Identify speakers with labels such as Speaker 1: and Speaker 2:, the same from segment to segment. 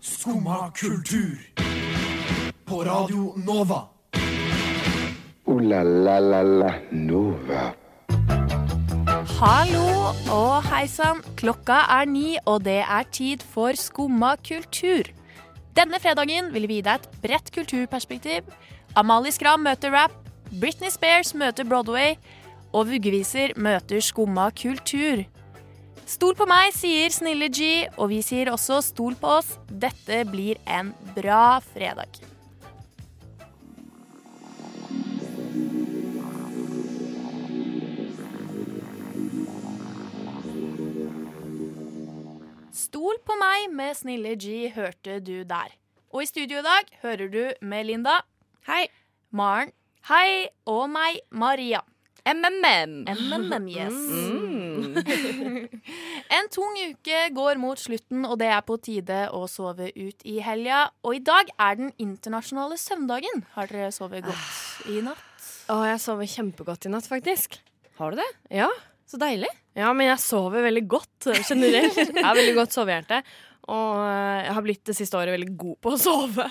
Speaker 1: Skumma kultur. På Radio Nova.
Speaker 2: Ooh la la la la Nova.
Speaker 3: Hallo og hei sann. Klokka er ni, og det er tid for Skumma kultur. Denne fredagen vil vi gi deg et bredt kulturperspektiv. Amalie Skram møter rap, Britney Spears møter Broadway, og vuggeviser møter Skumma kultur. Stol på meg, sier Snille G, og vi sier også stol på oss. Dette blir en bra fredag. Stol på meg med Snille G hørte du der. Og i studio i dag hører du Melinda. Hei. Maren. Hei. Og meg, Maria.
Speaker 4: MMM.
Speaker 3: MMM,
Speaker 5: Mm.
Speaker 3: yes.
Speaker 4: Mm.
Speaker 3: en tung uke går mot slutten, og det er på tide å sove ut i helga. Og i dag er den internasjonale søvndagen. Har dere sovet godt i natt?
Speaker 5: Å, jeg sover kjempegodt i natt, faktisk.
Speaker 4: Har du det?
Speaker 5: Ja.
Speaker 4: Så deilig.
Speaker 5: ja, men jeg sover veldig godt eh, generelt. Jeg har veldig godt sovehjerte. Og eh, jeg har blitt det siste året veldig god på å sove.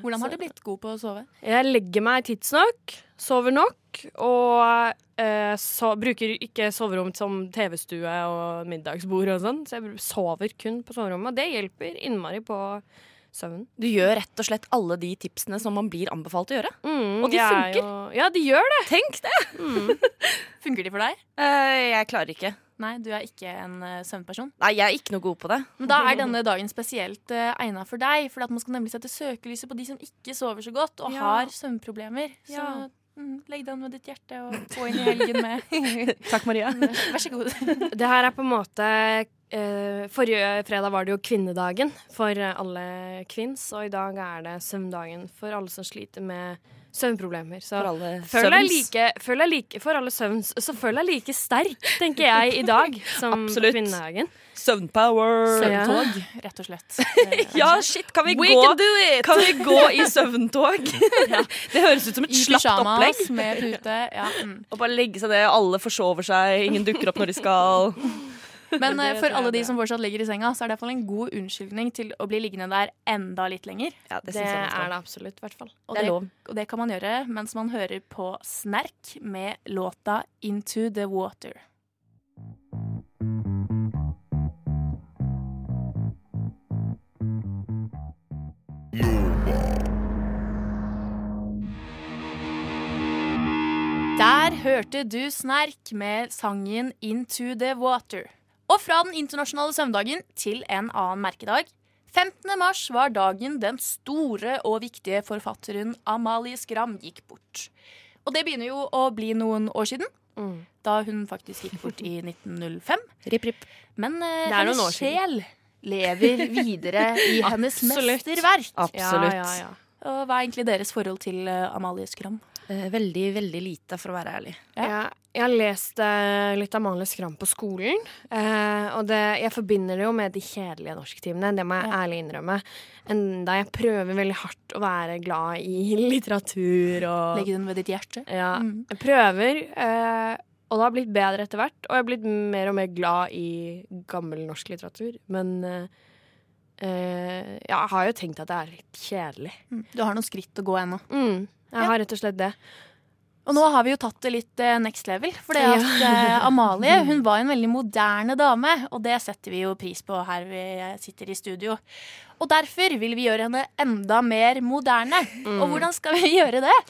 Speaker 3: Hvordan har du blitt god på å sove?
Speaker 5: Jeg legger meg tidsnok, sover nok, og eh, so bruker ikke soverom som TV-stue og middagsbord og sånn. Så jeg br- sover kun på soverommet, og det hjelper innmari på søvnen.
Speaker 4: Du gjør rett og slett alle de tipsene som man blir anbefalt å gjøre.
Speaker 5: Mm,
Speaker 4: Og de
Speaker 5: jeg er
Speaker 4: funker.
Speaker 5: jo- Ja, de gjør det.
Speaker 4: Tenk det!
Speaker 3: Funker de for deg?
Speaker 4: Eh, jeg klarer ikke.
Speaker 3: Nei, du er ikke en eh, søvnperson.
Speaker 4: Nei, jeg er ikke noe god på det.
Speaker 3: Men da er denne dagen spesielt uh, egna for deg, for at man skal nemlig sette søkelyset på de som ikke sover så godt og
Speaker 5: Ja.
Speaker 3: har søvnproblemer. Så
Speaker 5: Ja.
Speaker 3: mm, legg deg an med ditt hjerte og gå inn i helgen med
Speaker 4: Takk, Maria.
Speaker 3: Vær så god.
Speaker 5: Det her er på en måte eh, Forrige fredag var det jo kvinnedagen for alle kvinns, og i dag er det søvndagen for alle som sliter med søvnproblemer. Så
Speaker 4: For alle
Speaker 5: føl deg
Speaker 4: søvns.
Speaker 5: like, føl deg like For alle søvns, så føl deg like sterk, tenker jeg, i dag som
Speaker 4: Absolutt.
Speaker 5: kvinnedagen.
Speaker 4: Søvnpower.
Speaker 5: Søvn.
Speaker 3: Søvntog, rett og slett. Eh,
Speaker 4: Ja, shit, kan vi
Speaker 5: We
Speaker 4: gå
Speaker 5: can do it!
Speaker 4: Kan vi gå i søvntog? Det høres ut som et
Speaker 3: I
Speaker 4: slapt opplegg.
Speaker 3: pysjamas med pute. Ja, mm.
Speaker 4: Å bare legge seg ned, alle forsover seg, ingen dukker opp når de skal.
Speaker 3: Men eh,
Speaker 5: tror
Speaker 3: for
Speaker 5: jeg
Speaker 3: alle
Speaker 5: det
Speaker 3: de
Speaker 5: er.
Speaker 3: som fortsatt ligger i senga, så er det iallfall en god unnskyldning til å bli liggende der enda litt lenger.
Speaker 4: Ja,
Speaker 5: Det er det absolutt, i hvert fall.
Speaker 3: Og
Speaker 4: Det er
Speaker 3: det,
Speaker 4: lov.
Speaker 3: og det kan man gjøre mens man hører på Snerk med låta 'Into The Water'. Der hørte du Snerk med sangen 'Into the Water'. Og fra den internasjonale søvndagen til en annen merkedag. 15. mars var dagen den store og viktige forfatteren Amalie Skram gikk bort. Og det begynner jo å bli noen år siden,
Speaker 5: Mm.
Speaker 3: da hun faktisk gikk bort i 1905.
Speaker 4: Rip, rip.
Speaker 3: Men eh,
Speaker 5: Det er
Speaker 3: hennes
Speaker 5: noen år siden.
Speaker 3: sjel lever videre i hennes
Speaker 5: Absolutt.
Speaker 3: mesterverk.
Speaker 4: Absolutt.
Speaker 5: Ja, ja, ja.
Speaker 3: Og hva er egentlig deres forhold til eh, Amalie Skram?
Speaker 4: Eh, Veldig, veldig lite, for å være ærlig.
Speaker 3: Ja.
Speaker 5: Jeg, jeg har lest eh, litt Amalie Skram på skolen. eh, og det, jeg forbinder det jo med de kjedelige norsktimene, det må jeg ærlig innrømme. Enda jeg prøver veldig hardt å være glad i litteratur og
Speaker 3: Legg den ved ditt hjerte.
Speaker 5: ja,
Speaker 3: Mm.
Speaker 5: Jeg prøver, eh, og det har blitt bedre etter hvert. Og jeg har blitt mer og mer glad i gammel norsk litteratur. Men eh, eh, ja, jeg har jo tenkt at det er litt kjedelig.
Speaker 3: Mm. Du har noen skritt å gå ennå.
Speaker 5: Mm, jeg har rett og slett det.
Speaker 3: Og nå har vi jo tatt det litt eh, next level. For det at
Speaker 5: Ja.
Speaker 3: eh, Amalie hun var en veldig moderne dame, og det setter vi jo pris på her vi eh, sitter i studio. Og derfor vil vi gjøre henne enda mer moderne. Og
Speaker 5: Mm.
Speaker 3: hvordan skal vi gjøre det?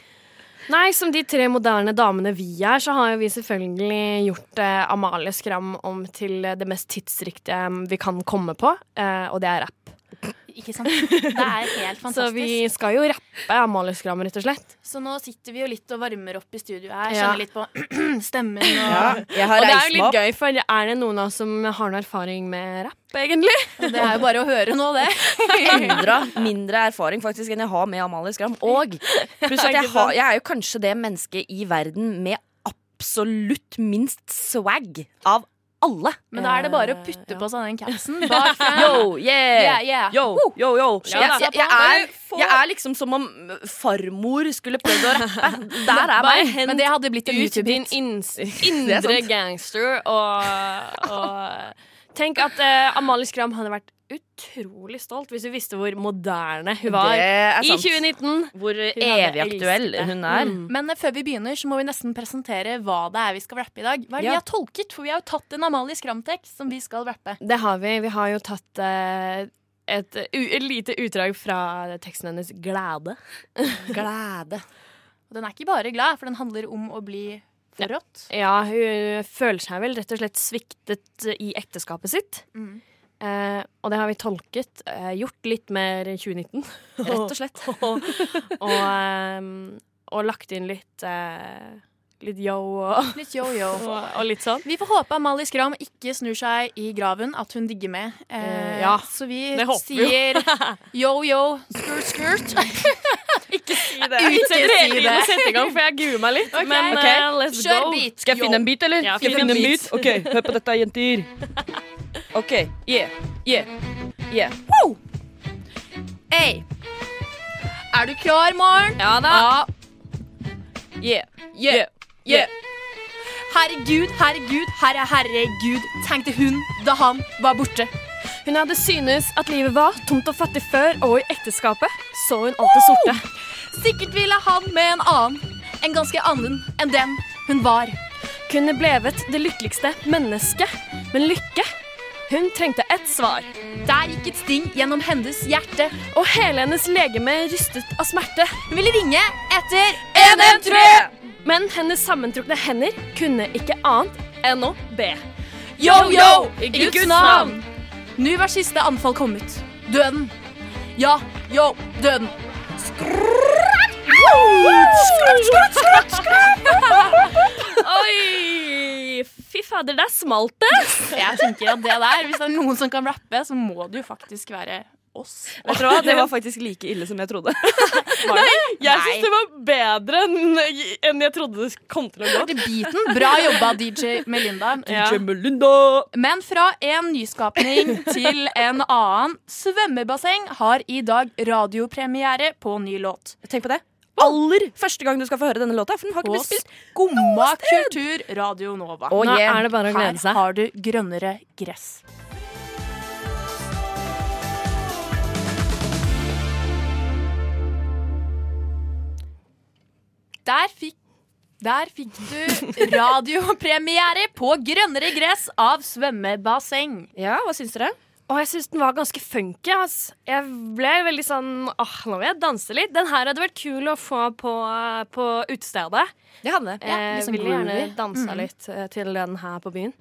Speaker 5: Nei, som de tre moderne damene vi er, så har jo vi selvfølgelig gjort eh, Amalie Skram om til eh, det mest tidsriktige mm, vi kan komme på, eh, og det er rapp.
Speaker 3: Ikke sant? Det er helt fantastisk.
Speaker 5: Så vi skal jo rappe Amalie Skram, rett og slett.
Speaker 3: Så nå sitter vi jo litt og varmer opp i studio her.
Speaker 5: Ja.
Speaker 3: Kjenner litt på stemmen og
Speaker 4: Jeg har
Speaker 5: Og det er jo
Speaker 4: reist meg opp.
Speaker 5: litt gøy, for er det noen av oss som har noe erfaring med rapp, egentlig?
Speaker 3: og Det er jo bare å høre nå, det.
Speaker 4: Endra mindre erfaring faktisk enn jeg har med Amalie Skram. Og pluss at jeg, har, jeg er jo kanskje det mennesket i verden med absolutt minst swag av alle.
Speaker 3: Men da er det bare å putte på seg den capsen bak frem.
Speaker 4: Yo,
Speaker 3: Yeah,
Speaker 4: yeah!
Speaker 3: yeah.
Speaker 4: Yo, yo, yo. Jeg,
Speaker 5: da.
Speaker 4: jeg, jeg, er, jeg er liksom som om farmor skulle prøvd å rappe. Der er meg.
Speaker 3: Men det hadde blitt en
Speaker 5: Ut
Speaker 3: YouTube-hit.
Speaker 5: din inns indre gangster og, og Tenk at eh, Amalie Skram hadde vært utrolig stolt hvis hun visste hvor moderne hun var
Speaker 4: er
Speaker 5: i 2019.
Speaker 4: Hvor eh,
Speaker 5: hadde
Speaker 4: evig aktuell
Speaker 5: elsket det.
Speaker 4: hun er.
Speaker 5: Mm.
Speaker 3: Men eh, før vi begynner, så må vi nesten presentere hva det er vi skal rappe i dag. Hva er det
Speaker 4: Ja.
Speaker 3: vi har tolket? For vi har jo tatt en Amalie Skram-tekst som vi skal rappe.
Speaker 5: Det har vi. Vi har jo tatt eh, et, u, et lite utdrag fra teksten hennes 'Glede'.
Speaker 4: Glede.
Speaker 3: Og den er ikke bare glad, for den handler om å bli forrådt.
Speaker 5: Ja, hun føler seg vel rett og slett sviktet i ekteskapet sitt.
Speaker 3: Mm.
Speaker 5: Eh, og det har vi tolket. Eh, gjort litt mer i 2019.
Speaker 4: Rett og slett.
Speaker 5: og, og, eh, og lagt inn litt eh, Litt yo og,
Speaker 3: Litt yo-yo.
Speaker 5: og, og litt sånn.
Speaker 3: Vi får håpe Amalie Skram ikke snur seg i graven, at hun digger med.
Speaker 5: Eh, ja,
Speaker 3: Så vi
Speaker 5: det håper vi jo.
Speaker 3: sier yo-yo, skirt, skirt.
Speaker 5: Utsetter
Speaker 3: si
Speaker 5: hele tiden
Speaker 3: det.
Speaker 5: å sette i gang, for jeg gruer meg litt. Men
Speaker 3: Ok.
Speaker 5: eh, let's
Speaker 3: Kjør
Speaker 5: go.
Speaker 3: beat.
Speaker 4: Skal jeg
Speaker 3: Yo.
Speaker 4: finne en bit, eller?
Speaker 5: Ja,
Speaker 4: Skal jeg
Speaker 5: finn
Speaker 4: finne
Speaker 5: en
Speaker 4: en bit? OK, hør på dette, jenter. OK. Yeah. Yeah. Yeah.
Speaker 3: Hey. Er du klar, Maren?
Speaker 5: Ja da.
Speaker 4: Yeah. Yeah. Yeah.
Speaker 3: Herregud, herregud, herre, herregud, tenkte hun da han var borte.
Speaker 5: Hun hadde synes at livet var tomt og fattig før, og i ekteskapet så hun alt det sorte.
Speaker 3: Sikkert ville han med en annen, en ganske annen enn den hun var.
Speaker 5: Kunne blevet det lykkeligste mennesket, men lykke, hun trengte et svar.
Speaker 3: Der gikk et sting gjennom hennes hjerte.
Speaker 5: Og hele hennes legeme rystet av smerte.
Speaker 3: Hun ville ringe etter
Speaker 5: Men hennes sammentrukne hender kunne ikke annet enn å be.
Speaker 3: Yo-yo, i Guds navn. Nå var siste anfall kommet. Døden. Ja, yo, døden.
Speaker 5: Oi! Fy fader, der smalt det.
Speaker 3: Jeg tenker at det der, Hvis det er noen som kan rappe, så må det jo faktisk være oss.
Speaker 4: Vet dere hva? Det var faktisk like ille som jeg trodde.
Speaker 5: Jeg
Speaker 3: Nei.
Speaker 5: syns det var bedre enn enn jeg trodde det kom til å gå.
Speaker 3: Til beaten. Bra jobba, DJ Melinda.
Speaker 5: Ja.
Speaker 4: Melinda.
Speaker 3: Men fra en nyskapning til en annen. Svømmebasseng har i dag radiopremiere på ny låt.
Speaker 4: Tenk på det. Aller første gang du skal få høre denne låta. For den har
Speaker 3: På
Speaker 4: ikke blitt spilt
Speaker 3: Skumma kultur, Radio Nova.
Speaker 4: Å,
Speaker 5: Nå
Speaker 4: yeah.
Speaker 5: er det bare å
Speaker 3: Her
Speaker 5: glede seg.
Speaker 3: har du grønnere gress. Der fikk der fikk du radiopremiere på 'Grønnere gress' av svømmebasseng.
Speaker 4: Ja, hva syns dere?
Speaker 5: Og jeg syns den var ganske funky. Ass. Jeg ble veldig sånn åh, nå vil jeg danse litt. Den her hadde vært kul å få på, på utestedet.
Speaker 4: Det hadde det.
Speaker 3: Ja, litt
Speaker 5: jeg
Speaker 3: sånn
Speaker 5: ville gjerne
Speaker 3: groovy.
Speaker 5: dansa litt eh, til den her på byen.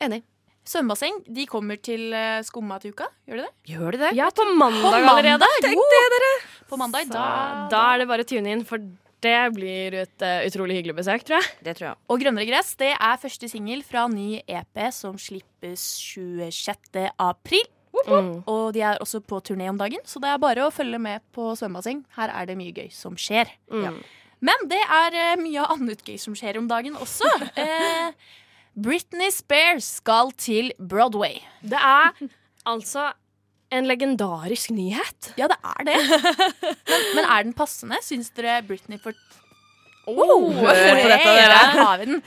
Speaker 4: Enig.
Speaker 3: Svømmebasseng de kommer til eh, Skumma til uka, gjør de det?
Speaker 4: Gjør det det?
Speaker 5: Ja, på mandag, allerede.
Speaker 3: Tenk det, dere! På mandag,
Speaker 5: Da,
Speaker 3: da,
Speaker 5: da er det bare å tune inn, for det blir et eh, utrolig hyggelig besøk, tror jeg.
Speaker 4: Det tror jeg.
Speaker 3: Og 'Grønnere gress' det er første singel fra ny EP som slippes 26. april. Mm. Og de er også på turné om dagen, så det er bare å følge med på svømmebasseng. Her er det mye gøy som skjer.
Speaker 5: Ja.
Speaker 3: Men det er eh, mye annet gøy som skjer om dagen også. Eh, Britney Spears skal til Broadway.
Speaker 5: Det er altså en legendarisk nyhet.
Speaker 3: Ja, det er det. Men, men er den passende? Syns dere Britney for
Speaker 5: Oh,
Speaker 4: hør på dette, dere.
Speaker 3: Der har vi den.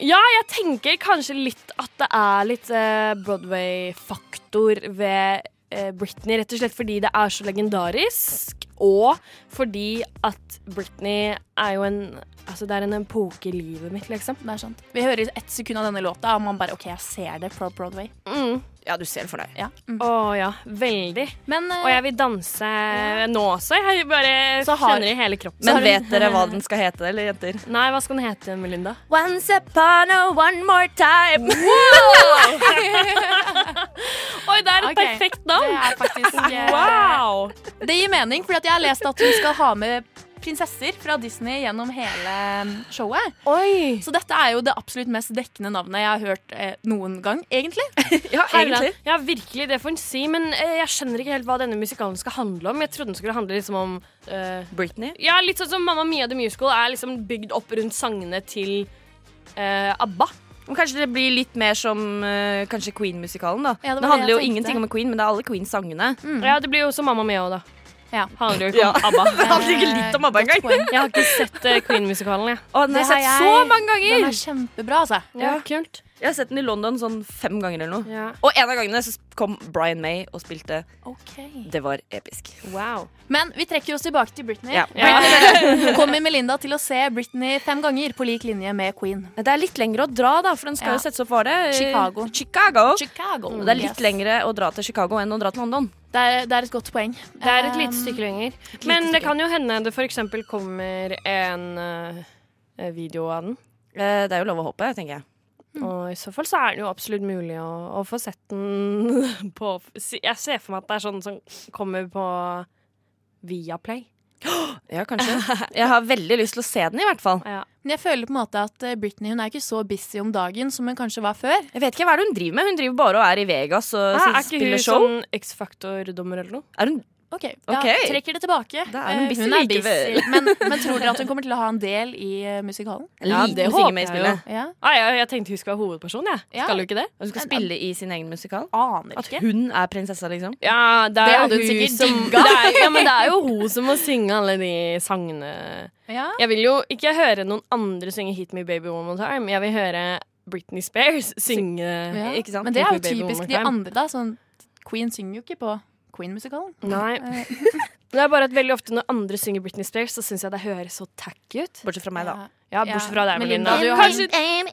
Speaker 5: Ja, jeg tenker kanskje litt at det er litt eh, Broadway-faktor ved eh, Britney, rett og slett fordi det er så legendarisk, og fordi at Britney er jo en Altså, det er en epoke i livet mitt, liksom.
Speaker 3: Det er sant. Vi hører ett sekund av denne låta, og man bare OK, jeg ser det på Broadway.
Speaker 5: Mm.
Speaker 4: Ja, du ser det for deg.
Speaker 3: Ja. Mm.
Speaker 5: Å ja, veldig.
Speaker 3: Men eh,
Speaker 5: Og jeg vil danse nå også. Jeg bare
Speaker 3: Så har-
Speaker 5: kjenner det i hele kroppen.
Speaker 4: Men vet dere hva den skal hete, eller jenter?
Speaker 5: Nei, hva skal den hete, Melinda?
Speaker 4: Once upon a one more time.
Speaker 5: Oi, det er et
Speaker 3: Ok.
Speaker 5: perfekt navn!
Speaker 3: Det er faktisk eh,
Speaker 5: Wow!
Speaker 3: Det gir mening, for jeg har lest at hun skal ha med prinsesser fra Disney gjennom hele mm, showet.
Speaker 5: Oi!
Speaker 3: Så dette er jo det absolutt mest dekkende navnet jeg har hørt eh, noen gang, egentlig.
Speaker 4: Ja, egentlig.
Speaker 5: Ja, virkelig, det får en si, men eh, jeg skjønner ikke helt hva denne musikalen skal handle om. Jeg trodde den skulle handle liksom om eh,
Speaker 4: Britney.
Speaker 5: Ja, litt sånn som Mamma Mia The Musical er liksom bygd opp rundt sangene til eh, ABBA.
Speaker 4: Men kanskje det blir litt mer som eh, kanskje Queen-musikalen, da.
Speaker 3: Ja, det var
Speaker 4: det
Speaker 3: det
Speaker 4: handler
Speaker 3: jeg
Speaker 4: jo
Speaker 3: tenkte.
Speaker 4: ingenting om Queen, men det er alle Queen-sangene.
Speaker 5: Ja, det blir jo også Mamma Mia òg, da.
Speaker 3: Ja.
Speaker 5: Handler jo ikke om ABBA.
Speaker 4: Det handler ikke litt om ABBA
Speaker 3: Godt
Speaker 4: engang.
Speaker 3: poeng.
Speaker 5: Jeg har ikke sett eh, Queen-musikalen, jeg.
Speaker 4: Å,
Speaker 3: Det
Speaker 4: den har jeg sett
Speaker 3: har
Speaker 4: så
Speaker 3: jeg-
Speaker 4: mange ganger.
Speaker 3: Den er kjempebra, altså.
Speaker 5: Ja, kult.
Speaker 4: Jeg har sett den i London sånn fem ganger eller noe.
Speaker 5: Ja.
Speaker 4: Og en av gangene så kom Brian May og spilte.
Speaker 3: Ok.
Speaker 4: Det var episk.
Speaker 5: Wow.
Speaker 3: Men vi trekker oss tilbake til Britney.
Speaker 4: Ja.
Speaker 3: Britney kommer Melinda til å se Britney fem ganger på lik linje med Queen.
Speaker 4: Men Det er litt lengre å dra, da, for den
Speaker 3: Ja.
Speaker 4: skal jo settes opp, var det? eh,
Speaker 3: Chicago.
Speaker 4: Chicago.
Speaker 3: Chicago.
Speaker 4: Og det er litt lengre å dra til Chicago enn å dra til London.
Speaker 3: Mm, Det er, det er et godt poeng.
Speaker 5: Det er Eh, et
Speaker 3: Um,
Speaker 5: lite stykke lenger.
Speaker 3: lite
Speaker 5: Men det
Speaker 3: stykke.
Speaker 5: kan jo hende det f.eks. kommer en eh, video av den.
Speaker 4: Eh, Det er jo lov å håpe, tenker jeg.
Speaker 5: Og i så fall så er det jo absolutt mulig å, å få sett den på si- Jeg ser for meg at det er sånn som kommer på Viaplay.
Speaker 4: Ja, kanskje. Jeg har veldig lyst til å se den, i hvert fall.
Speaker 5: Ja.
Speaker 3: Men jeg føler på en måte at eh, Britney hun er ikke så busy om dagen som hun kanskje var før.
Speaker 4: Jeg vet ikke hva er det hun driver med. Hun driver bare og Ah, er i Vegas og
Speaker 5: Ah, Er
Speaker 4: s-
Speaker 5: ikke
Speaker 4: spiller
Speaker 5: hun
Speaker 4: show.
Speaker 5: sånn X-Faktor-dommer eller noe?
Speaker 4: Er hun
Speaker 3: Ok, da
Speaker 4: Ok.
Speaker 3: trekker det tilbake.
Speaker 4: Da er hun
Speaker 3: Eh,
Speaker 4: busy
Speaker 3: er
Speaker 4: likevel.
Speaker 3: busy. Men, men tror dere at hun kommer til å ha en del i eh, musikalen?
Speaker 5: Ja,
Speaker 4: liten
Speaker 5: det
Speaker 4: finger
Speaker 5: håper
Speaker 4: med i
Speaker 5: jeg
Speaker 4: spillet?
Speaker 3: Ja,
Speaker 5: Ah, ja, jeg tenkte hun skulle være hovedperson, jeg.
Speaker 3: Ja.
Speaker 5: Skal hun ikke det?
Speaker 4: Hun skal spille i sin egen musikal?
Speaker 3: Aner
Speaker 4: At
Speaker 3: ikke.
Speaker 4: hun er prinsessa, liksom?
Speaker 5: Ja, det
Speaker 3: Det
Speaker 5: er,
Speaker 3: hadde hun
Speaker 5: jo hun
Speaker 3: sikkert
Speaker 5: som,
Speaker 3: digga.
Speaker 5: det er, ja, men det er jo hun som må synge alle de sangene.
Speaker 3: Ja.
Speaker 5: Jeg vil jo ikke høre noen andre synge 'Hit Me Baby One More Time'. Jeg vil høre Britney Spears synge
Speaker 3: Ja.
Speaker 4: Ikke sant?
Speaker 3: Men det er jo
Speaker 5: Britney Baby One
Speaker 3: typisk
Speaker 5: More
Speaker 3: de
Speaker 5: Time.
Speaker 3: andre, da. Sånn, Queen synger jo ikke på Queen-musikalen.
Speaker 5: Nei.
Speaker 3: Eh,
Speaker 5: Det er bare at veldig ofte når andre synger Britney Spears, så syns jeg det høres så tacky ut.
Speaker 4: Bortsett fra meg, da.
Speaker 3: ja.
Speaker 5: Ja, bortsett fra deg,
Speaker 3: Melinda,
Speaker 5: Melinda.
Speaker 3: du har-
Speaker 5: kanskje,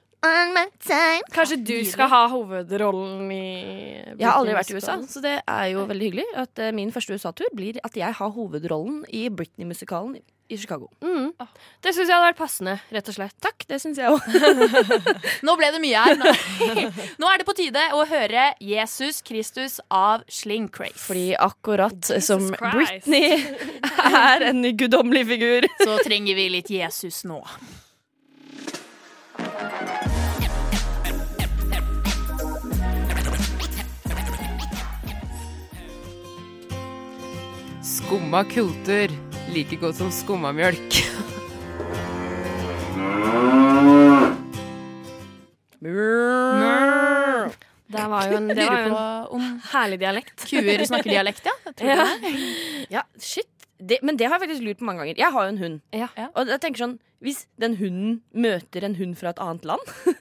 Speaker 5: kanskje du skal ha hovedrollen i
Speaker 4: Jeg har aldri
Speaker 5: Britney
Speaker 4: vært i USA,
Speaker 5: musikalen.
Speaker 4: så det er jo veldig hyggelig at eh, min første USA-tur blir at jeg har hovedrollen i Britney-musikalen i Chicago.
Speaker 5: Mm. Det syns jeg hadde vært passende, rett og slett.
Speaker 4: Takk, det syns jeg òg.
Speaker 3: Nå ble det mye her. Nå. Nå er det på tide å høre Jesus Kristus av Sling Craze.
Speaker 4: Fordi akkurat som
Speaker 5: Christ.
Speaker 4: Britney er en guddommelig figur.
Speaker 3: så trenger vi litt Jesus nå.
Speaker 6: Skumma kultur. Like godt som skummamjølk.
Speaker 5: Det var jo en, det var
Speaker 3: Lurer
Speaker 5: jo
Speaker 3: på
Speaker 5: en
Speaker 3: om
Speaker 5: herlig dialekt.
Speaker 3: kuer snakker dialekt, ja. Jeg tror det.
Speaker 4: Ja, shit. Det, men det har jeg faktisk lurt på mange ganger. Jeg har jo en hund.
Speaker 5: Ja.
Speaker 4: Og jeg tenker sånn, Hvis den hunden møter en hund fra et annet land,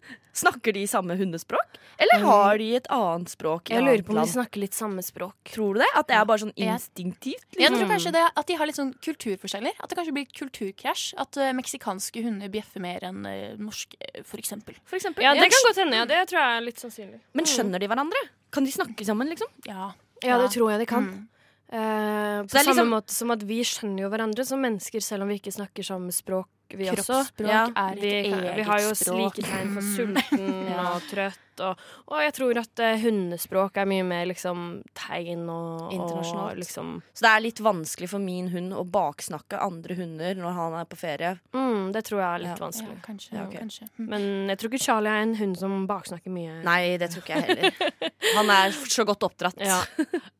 Speaker 4: snakker de samme hundespråk? Eller har de et annet språk? i
Speaker 5: Mm. Jeg lurer
Speaker 4: et annet
Speaker 5: på om de
Speaker 4: land?
Speaker 5: snakker litt samme språk.
Speaker 4: Tror du det? At det er bare sånn
Speaker 3: Jeg-
Speaker 4: instinktivt?
Speaker 3: Jeg tror kanskje det, at de har litt sånn kulturforskjeller. At det kanskje blir kulturkrasj. At eh, meksikanske hunder bjeffer mer enn eh, norske, eh, for eksempel.
Speaker 4: For eksempel.
Speaker 5: Ja, det
Speaker 4: Jeg-
Speaker 5: kan godt hende. Ja, det tror jeg er litt sannsynlig.
Speaker 4: Men skjønner de hverandre? Kan de snakke sammen, liksom?
Speaker 3: Ja.
Speaker 5: Ja, det tror jeg de kan.
Speaker 3: Mm.
Speaker 5: Eh, på
Speaker 4: det er
Speaker 5: samme
Speaker 4: liksom-
Speaker 5: måte som at vi skjønner jo hverandre som mennesker, selv om vi ikke snakker samme språk, vi også.
Speaker 3: Kroppsspråk
Speaker 4: Ja,
Speaker 3: er et
Speaker 5: Vi,
Speaker 3: eget
Speaker 5: kan,
Speaker 3: språk.
Speaker 5: vi har jo slike tegn for sulten
Speaker 3: Ja.
Speaker 5: og trøtt. Og, og jeg tror at eh, hundespråk er mye mer liksom tegn og,
Speaker 4: Internasjonalt.
Speaker 5: og liksom
Speaker 4: Så det er litt vanskelig for min hund å baksnakke andre hunder når han er på ferie.
Speaker 5: mm, Det tror jeg er litt
Speaker 4: Ja.
Speaker 3: Ja,
Speaker 5: vanskelig.
Speaker 3: kanskje.
Speaker 4: Ja, ok.
Speaker 3: kanskje. Mm.
Speaker 5: Men jeg tror ikke Charlie er en hund som baksnakker mye.
Speaker 4: Nei, det tror ikke jeg heller. Han er så godt oppdratt.
Speaker 5: Ja.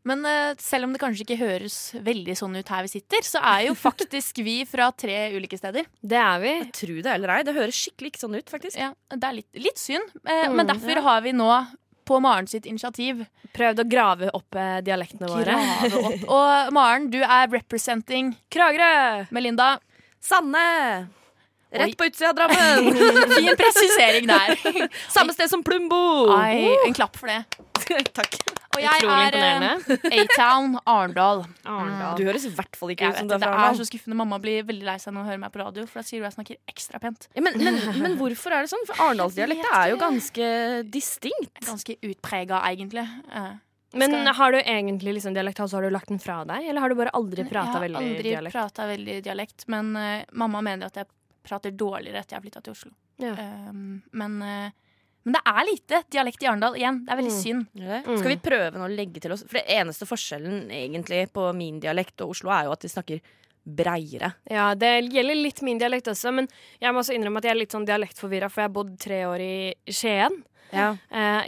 Speaker 3: Men eh, selv om det kanskje ikke høres veldig sånn ut her vi sitter, så er jo faktisk vi fra tre ulike steder.
Speaker 5: Det er vi.
Speaker 4: Jeg tror det eller ei. Det høres skikkelig ikke sånn ut, faktisk.
Speaker 3: Ja, det er litt, litt synd, eh,
Speaker 5: Mm,
Speaker 3: men derfor har vi nå på Maren sitt initiativ
Speaker 5: Prøvd å grave opp eh, dialektene våre.
Speaker 3: grave opp. Og Maren, du er representing
Speaker 5: Kragerø!
Speaker 3: Melinda.
Speaker 4: Sanne!
Speaker 3: Oi.
Speaker 4: Rett på utsida av Drammen!
Speaker 3: Fin presisering der.
Speaker 4: Samme sted som Plumbo!
Speaker 3: Ai, en klapp for det.
Speaker 4: Takk.
Speaker 3: Og jeg
Speaker 5: Utrolig
Speaker 3: er eh, Mm.
Speaker 5: imponerende. Oh
Speaker 3: A-Town Arendal.
Speaker 5: Arendal.
Speaker 4: Du høres i hvert fall ikke
Speaker 3: Jeg
Speaker 4: ut som
Speaker 3: vet det,
Speaker 4: du er
Speaker 3: det
Speaker 4: fra
Speaker 3: er
Speaker 4: Arendal.
Speaker 3: så skuffende. Mamma blir veldig lei seg når hun hører meg på radio, for da sier hun jeg snakker ekstra pent.
Speaker 4: Ja, men, men, men hvorfor er det sånn? For Arendalsdialekta er jo ganske distinkt.
Speaker 3: Ganske utprega, egentlig. Eh,
Speaker 5: Men
Speaker 3: Skal-
Speaker 5: har du egentlig liksom dialekt, altså har du lagt den fra deg, eller har du bare aldri prata
Speaker 3: jeg
Speaker 5: veldig
Speaker 3: har aldri
Speaker 5: dialekt?
Speaker 3: prata veldig dialekt, men eh, mamma mener at jeg prater dårligere etter jeg har flytta til Oslo.
Speaker 5: Ja.
Speaker 3: Um, men, eh, men det er lite dialekt i Arendal igjen. Det er veldig synd.
Speaker 5: Mm.
Speaker 4: Skal vi prøve nå å legge til oss For det eneste forskjellen egentlig på min dialekt og Oslo er jo at de snakker breiere.
Speaker 5: Ja, det gjelder litt min dialekt også, men jeg må også innrømme at jeg er litt sånn dialektforvirra, for jeg har bodd tre år i Skien. Eh,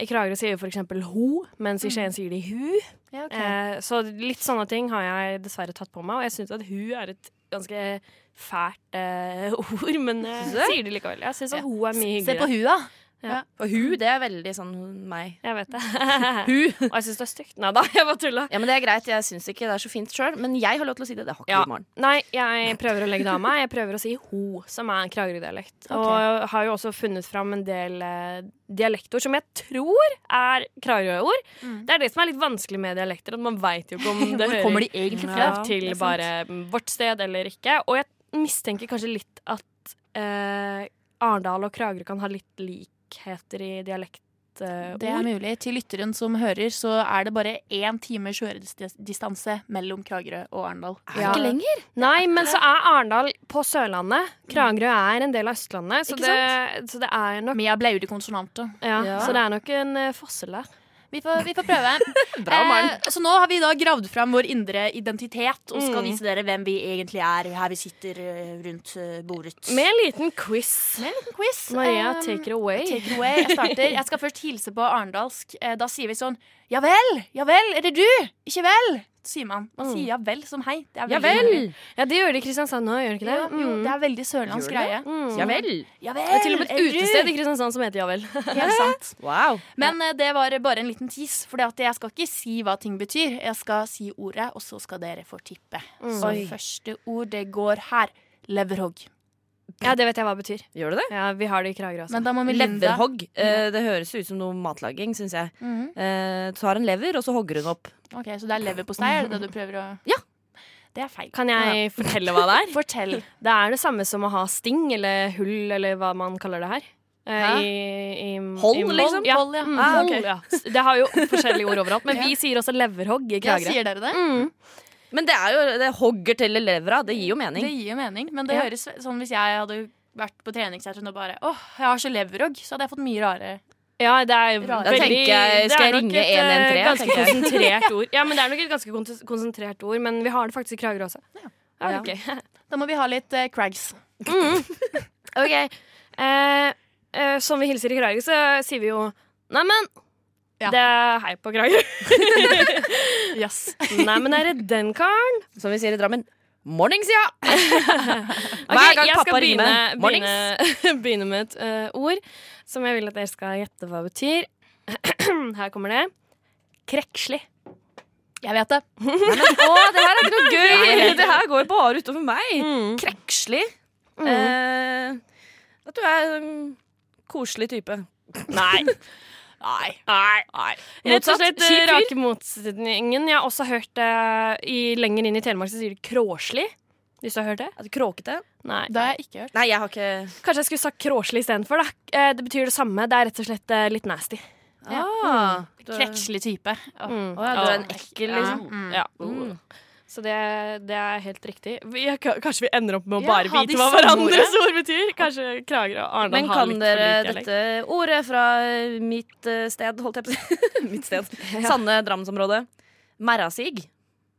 Speaker 5: I Kragerø sier jo for eksempel ho, mens
Speaker 3: Mm.
Speaker 5: i Skien sier de hu. Eh, så litt sånne ting har jeg dessverre tatt på meg, og jeg syns at hu er et ganske fælt eh, ord, men jeg eh, sier det likevel. Jeg syns at ho er mye
Speaker 3: Se på
Speaker 5: hyggeligere.
Speaker 3: hua.
Speaker 5: Ja.
Speaker 4: For hun, det er veldig sånn meg.
Speaker 5: Jeg vet det. Og jeg syns det er stygt. Nei da, jeg bare tulla.
Speaker 4: Ja, men Det er greit, jeg syns ikke det er så fint sjøl, men jeg har lov til å si det. Det har ikke
Speaker 5: Ja.
Speaker 4: du, Maren.
Speaker 5: Nei, jeg prøver å legge det av meg. Jeg prøver å si ho, som er en Kragerø-dialekt. Og har jo også funnet fram en del eh, dialektord som jeg tror er Kragerø-ord.
Speaker 3: Mm.
Speaker 5: Det er det som er litt vanskelig med dialekter, at man veit jo ikke om det hører
Speaker 3: kommer de egentlig fra?
Speaker 5: ja, til bare mm, vårt sted eller ikke. Og jeg mistenker kanskje litt at eh, Arendal og Kragerø kan ha litt likheter i eh, dialektord.
Speaker 3: Det er mulig. Til lytteren som hører, så er det bare én times kjøredistanse mellom Kragerø og Arendal.
Speaker 4: Er det
Speaker 5: Ja.
Speaker 4: ikke lenger?
Speaker 5: Nei, men så er Arendal på Sørlandet. Kragerø er en del av Østlandet, så,
Speaker 4: Ikke
Speaker 5: det, så det er nok
Speaker 3: Med blaude konsonanter.
Speaker 5: Ja,
Speaker 4: Ja.
Speaker 5: Så det er nok en eh, fossel der.
Speaker 3: Vi får, vi får prøve. Eh,
Speaker 4: Maren.
Speaker 3: så nå har vi da gravd fram vår indre identitet og skal
Speaker 5: Mm.
Speaker 3: vise dere hvem vi egentlig er her vi sitter eh, rundt eh, bordet.
Speaker 5: Med en liten quiz.
Speaker 3: Med en liten quiz.
Speaker 5: Maria,
Speaker 3: Um,
Speaker 5: take it away.
Speaker 3: take it away. Jeg starter. Jeg skal først hilse på arendalsk. Eh, Da sier vi sånn Ja vel? Ja vel? Er det du? Ikke vel? Så sier man. Man
Speaker 5: Mm.
Speaker 3: sier ja vel som hei. Det er
Speaker 4: Ja
Speaker 3: veldig
Speaker 4: vel!
Speaker 3: hyggelig.
Speaker 5: Ja, det gjør de i Kristiansand nå, gjør de ikke det?
Speaker 3: Ja, jo, det er veldig sørlandsk
Speaker 4: Gjør
Speaker 3: greie.
Speaker 5: Mm.
Speaker 4: Ja vel!
Speaker 3: Ja vel?
Speaker 5: Det er til og med et
Speaker 3: er du?
Speaker 5: utested i Kristiansand som heter Ja vel.
Speaker 3: Helt sant.
Speaker 4: Wow.
Speaker 3: Men eh, det var bare en liten tis, for jeg skal ikke si hva ting betyr. Jeg skal si ordet, og så skal dere få tippe.
Speaker 5: Mm.
Speaker 3: Så
Speaker 4: Oi.
Speaker 3: første ord det går her. Leverhogg.
Speaker 5: Ja, det vet jeg hva det betyr.
Speaker 4: Gjør du det?
Speaker 5: Ja, Vi har det i Kragerø også.
Speaker 3: Men da må vi Linda-
Speaker 4: Leverhogg. Eh, det høres ut som noe matlaging, syns jeg.
Speaker 3: Mhm.
Speaker 4: Eh, tar en lever, og så hogger hun opp.
Speaker 3: Ok, Så det er leverpostei, er det det du prøver å
Speaker 4: Ja.
Speaker 3: Det er feil.
Speaker 5: Kan jeg fortelle hva det er?
Speaker 3: Fortell.
Speaker 5: Det er det samme som å ha sting eller hull eller hva man kaller det her. Eh,
Speaker 4: Hæ?
Speaker 5: I, i,
Speaker 4: Hold,
Speaker 5: i mold.
Speaker 4: liksom?
Speaker 5: Ja.
Speaker 3: Hold, ja.
Speaker 5: Mm,
Speaker 4: Ah,
Speaker 5: hold,
Speaker 4: ok.
Speaker 5: ja. S- Det har jo forskjellige ord overalt, men vi sier også leverhogg i
Speaker 3: Ja,
Speaker 5: Kragerø.
Speaker 3: sier dere det?
Speaker 5: Mm.
Speaker 4: Men det er jo det hogger til levra. Det gir jo
Speaker 3: Det
Speaker 4: mening.
Speaker 3: gir jo mening, men det
Speaker 5: Ja.
Speaker 3: høres sånn hvis jeg hadde vært på treningssenteret og bare åh, jeg har så leverhogg, så hadde jeg fått mye rare
Speaker 5: Ja, det er
Speaker 3: Da
Speaker 5: veldig
Speaker 4: tenker jeg,
Speaker 5: det
Speaker 4: skal
Speaker 5: er
Speaker 4: jeg
Speaker 5: nok
Speaker 4: ringe
Speaker 5: et, eh,
Speaker 4: 113,
Speaker 5: Ganske
Speaker 4: tenker jeg.
Speaker 5: konsentrert ord. Ja, men Det er nok et ganske kon- konsentrert ord, men vi har det faktisk i Kragerø også. Ja,
Speaker 4: Ja.
Speaker 5: ok.
Speaker 3: Da må vi ha litt eh, crags.
Speaker 5: Ok. Eh, eh, som vi hilser i Kragerø, så sier vi jo Neimen,
Speaker 3: Ja.
Speaker 5: det er hei på Kragerø.
Speaker 3: Yes.
Speaker 5: Neimen, er det den karen?
Speaker 4: Som vi sier i Drammen. Mornings, ja!
Speaker 5: Ok,
Speaker 4: Hver gang
Speaker 5: jeg skal
Speaker 4: pappa
Speaker 5: begynne,
Speaker 4: ringer meg. Mornings.
Speaker 5: begynne, begynne med et eh, ord som jeg vil at dere skal gjette hva betyr. Her kommer det. Krekslig.
Speaker 3: Jeg vet det.
Speaker 4: Å, det her er ikke noe gøy!
Speaker 5: Nei.
Speaker 4: Det her går bare utover meg.
Speaker 5: Mm.
Speaker 4: Krekslig.
Speaker 5: Mm.
Speaker 4: Eh, at du er en koselig type.
Speaker 5: Nei.
Speaker 3: Nei.
Speaker 5: Nei. Rett og
Speaker 4: Motsatt.
Speaker 5: slett
Speaker 4: Kjip
Speaker 5: eh,
Speaker 4: fyr.
Speaker 5: rake motsetningen. Jeg har også hørt eh, i, lenger inn i Telemark så sier de kråslig. Hvis du har hørt det?
Speaker 4: Er du kråkete?
Speaker 5: Nei.
Speaker 3: Det har jeg ikke hørt.
Speaker 4: Nei, jeg har ikke
Speaker 5: Kanskje jeg skulle sagt kråslig istedenfor. da. Eh, Det betyr det samme. Det er rett og slett eh, litt nasty.
Speaker 4: ah, du, er-
Speaker 3: Krekslig type.
Speaker 5: Mm.
Speaker 4: Å ja, du er en ekkel,
Speaker 3: Ja.
Speaker 4: liksom.
Speaker 3: Mm.
Speaker 5: Ja.
Speaker 4: Mm.
Speaker 5: Så det, det er helt riktig. Vi, jeg, kanskje vi ender opp med å
Speaker 3: Ja,
Speaker 5: bare
Speaker 3: ha de
Speaker 5: vite hva
Speaker 3: samme
Speaker 5: hverandres ord betyr? Kanskje Kragerø og Arendal
Speaker 4: Men
Speaker 5: har
Speaker 4: kan
Speaker 5: litt for
Speaker 4: dere
Speaker 5: lik dialekt.
Speaker 4: dette ordet fra mitt eh, sted, holdt jeg på å si? mitt sted. Sanne Drammensområdet. Merrasig.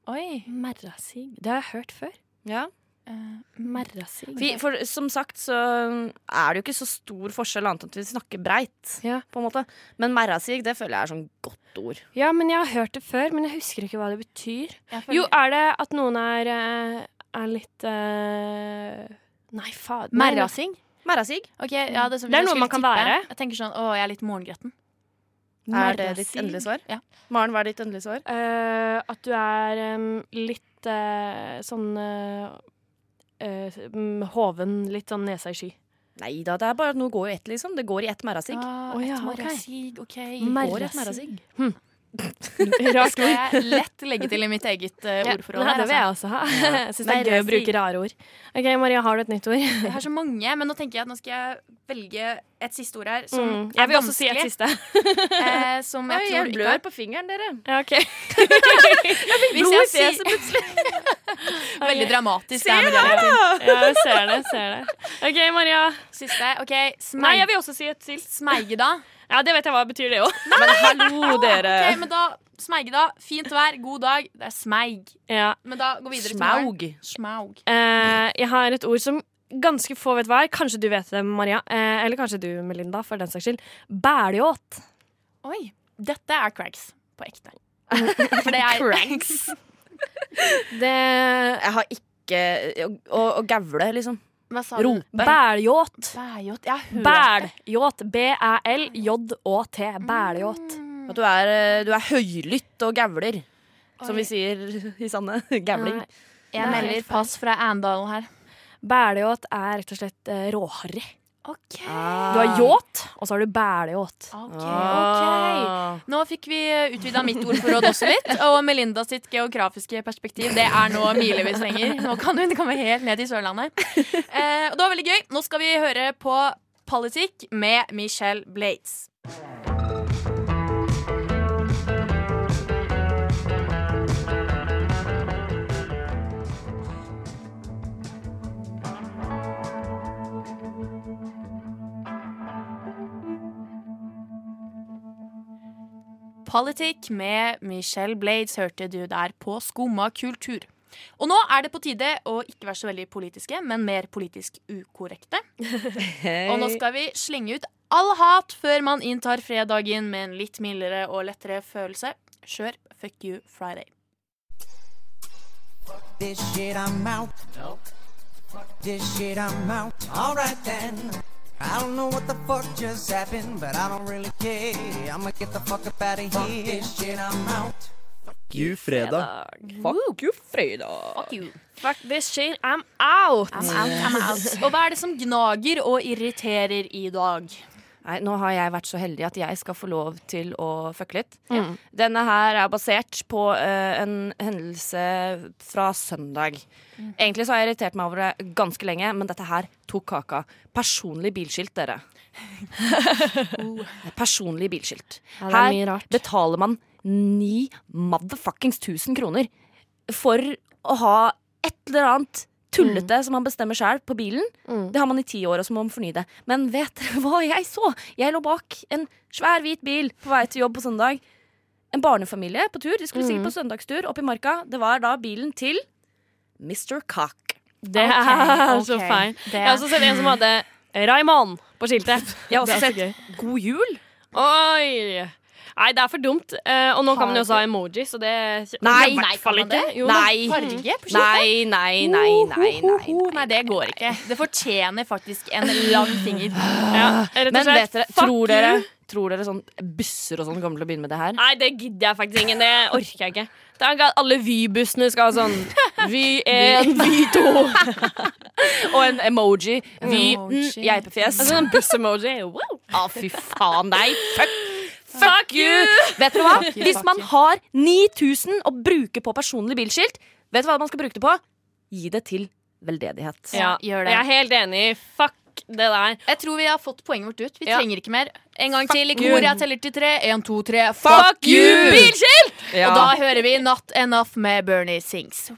Speaker 3: Oi.
Speaker 5: Merrasig. Det har jeg hørt før.
Speaker 4: Ja.
Speaker 3: Eh,
Speaker 5: Merrasig.
Speaker 4: Vi, for som sagt så er det jo ikke så stor forskjell annet enn at vi snakker breit,
Speaker 5: Ja.
Speaker 4: på en måte. Men merrasig, det føler jeg er sånn godt ord.
Speaker 5: Ja, men jeg har hørt det før, men jeg husker ikke hva det betyr.
Speaker 3: jeg føler-
Speaker 5: Jo, er det at noen er, eh, er litt eh, Nei, fader. nei, nei.
Speaker 3: Merrasing?
Speaker 4: Merrasig.
Speaker 3: Ok, ja, det, er som-
Speaker 5: Det er
Speaker 3: jeg
Speaker 5: noe
Speaker 3: skulle
Speaker 5: man kan
Speaker 3: tippe.
Speaker 5: være.
Speaker 3: Jeg tenker sånn, å, jeg er litt morgengretten.
Speaker 4: Er det ditt
Speaker 5: Merrasig.
Speaker 4: endelige svar?
Speaker 3: Ja.
Speaker 4: Maren, hva er ditt endelige svar?
Speaker 5: Eh, at du er em, litt eh, sånn eh, eh, mm, hoven, litt sånn nesa i sky.
Speaker 4: Nei da, det er bare at noe går i ett, liksom. Det går i ett merrasig.
Speaker 3: Ah,
Speaker 5: Å, ja,
Speaker 3: et
Speaker 5: ok.
Speaker 3: merrasig, ok.
Speaker 5: Mer-
Speaker 4: Går i ett
Speaker 5: merrasig.
Speaker 4: merrasig.
Speaker 3: Det
Speaker 5: Rart
Speaker 3: skal jeg lett legge til i mitt eget eh, ordforråd.
Speaker 5: Ja,
Speaker 3: her,
Speaker 5: det vil jeg
Speaker 3: altså.
Speaker 5: også ha. Jeg syns det er gøy å bruke rare ord. Ok, Maria, har du et nytt ord?
Speaker 3: Jeg har så mange, men nå tenker jeg at nå skal jeg velge et siste ord her som
Speaker 5: Mm.
Speaker 3: er
Speaker 5: Jeg vil også si et
Speaker 3: vanskelig,
Speaker 5: siste.
Speaker 3: eh, som jeg
Speaker 4: Oi,
Speaker 3: tror
Speaker 4: jeg
Speaker 3: ikke
Speaker 4: blør på fingeren, dere.
Speaker 5: Ja, ok.
Speaker 3: Hvis
Speaker 4: Blod i
Speaker 3: jeg sier
Speaker 4: fjeset plutselig.
Speaker 3: veldig dramatisk
Speaker 4: Se
Speaker 3: det her,
Speaker 5: Ja, jeg ser det. ser det OK, Maria.
Speaker 3: Siste. OK,
Speaker 5: Nei,
Speaker 3: smeig,
Speaker 5: jeg vil også si et til.
Speaker 3: smeigeda.
Speaker 5: Ja, det vet jeg hva betyr, det òg.
Speaker 4: Men hallo, dere.
Speaker 3: OK, men da smeigeda. Fint vær, god dag. Det er smeig.
Speaker 5: Ja.
Speaker 3: Men da gå videre til morgen.
Speaker 4: Smaug.
Speaker 3: Smaug.
Speaker 5: Eh, jeg har et ord som ganske få vet hva er. Kanskje du vet det, Maria. Eh, eller kanskje du, Melinda, for den saks skyld. Bæljåt.
Speaker 3: Oi. Dette er crags på ekte. For det er
Speaker 4: Cranks.
Speaker 5: Det
Speaker 4: Jeg har ikke Å, å, å gavle, liksom.
Speaker 5: Hva sa du?
Speaker 7: Bæljåt.
Speaker 3: Bæljåt. Jeg har hørt det.
Speaker 7: Bæljåt. B-æ-l-j-å-t. Bæljåt.
Speaker 4: At du er, eh, du er høylytt og gavler, som vi sier i Sanne. Gavling.
Speaker 5: Nei.
Speaker 3: Jeg
Speaker 5: Nei.
Speaker 3: melder pass fra Andalen her.
Speaker 7: Bæljåt er rett og slett eh, råharry.
Speaker 3: OK.
Speaker 7: Du har yacht, og så har du bæljåt.
Speaker 3: Ok, ok.
Speaker 4: Ah.
Speaker 3: Nå fikk vi utvida mitt ordforråd også litt. Og Melinda sitt geografiske perspektiv Det er nå milevis lenger. Nå kan hun komme helt ned til Sørlandet. Eh, og det var veldig gøy. Nå skal vi høre på politikk med Michelle Blades. Politikk med Michelle Blades hørte du der på Skumma kultur. Og nå er det på tide å ikke være så veldig politiske, men mer politisk ukorrekte. Og nå skal vi slenge ut all hat før man inntar fredagen med en litt mildere og lettere følelse. Kjør Fuck You Friday.
Speaker 8: this shit, I'm out. Fuck this shit, I'm out. Alright then. I don't know what the fuck just happened, but I don't really care. I'ma get the fuck up out of here. Fuck this shit, I'm out.
Speaker 1: Gu fredag.
Speaker 4: Fuck you, fredag.
Speaker 3: Fuck you.
Speaker 7: Fuck this shit, I'm out!
Speaker 3: I'm out, I'm out. Og hva er det som gnager og irriterer i dag?
Speaker 4: Nei, nå har jeg vært så heldig at jeg skal få lov til å fucke litt. Denne her er basert på eh, en hendelse fra søndag.
Speaker 5: Mm.
Speaker 4: Egentlig så har jeg irritert meg over det ganske lenge, men dette her tok kaka. Personlig bilskilt, dere. Personlig bilskilt.
Speaker 5: Ja, det er mye
Speaker 4: Her
Speaker 5: rart.
Speaker 4: betaler man ni motherfuckings tusen kroner for å ha et eller annet tullete som man bestemmer sjøl på bilen. Det har man i ti år, og så må man fornye det. Men vet dere hva jeg så? Jeg lå bak en svær hvit bil på vei til jobb på søndag. En barnefamilie på tur. De skulle sikkert på søndagstur opp i marka. Det var da bilen til Mr. Cock.
Speaker 7: Det er så
Speaker 3: ok.
Speaker 7: feil.
Speaker 3: Det-
Speaker 7: Jeg har også sett en som hadde Raymond på skiltet.
Speaker 4: Jeg har også
Speaker 7: Det er så
Speaker 4: sett God jul.
Speaker 7: Oi! Nei, det er for dumt. Eh, og nå kan man jo også ha emojis, og det i
Speaker 4: Nei,
Speaker 7: hvert fall
Speaker 3: kan man
Speaker 7: ikke.
Speaker 3: det?
Speaker 7: Jo, da.
Speaker 4: Nei.
Speaker 3: Farge på
Speaker 4: Nei, nei, nei, nei, nei.
Speaker 3: Ho, Nei, det går ikke. Eh, Det fortjener faktisk en lang finger.
Speaker 7: Ja, rett og
Speaker 4: Men
Speaker 7: slett,
Speaker 4: vet dere,
Speaker 7: fuck
Speaker 4: tror dere,
Speaker 7: you.
Speaker 4: tror dere sånn busser og sånn kommer til å begynne med det her?
Speaker 7: Nei, det gidder jeg faktisk ikke. Det orker jeg ikke. Det er ikke at Alle Vy-bussene skal ha sånn Vy 1, Vy 2.
Speaker 4: Og en emoji. Vi
Speaker 3: Emoji.
Speaker 4: mm, geipefjes.
Speaker 7: Altså sånn buss-emoji. Wow.
Speaker 4: Å, fy faen deg. Fuck. Fuck you! Vet dere hva? Hvis man har 9000 å bruke på personlig bilskilt, vet du hva man skal bruke det på? Gi det til veldedighet.
Speaker 7: Ja,
Speaker 3: gjør det.
Speaker 7: Jeg er helt enig. Fuck det der.
Speaker 3: Jeg tror vi har fått poenget vårt ut. Vi
Speaker 7: Ja.
Speaker 3: trenger ikke mer. En gang til i kor. Jeg teller til tre. En, to, tre.
Speaker 4: Fuck you!
Speaker 3: Bilskilt!
Speaker 4: Ja.
Speaker 3: Og da hører vi Not Enough med Bernie Sings.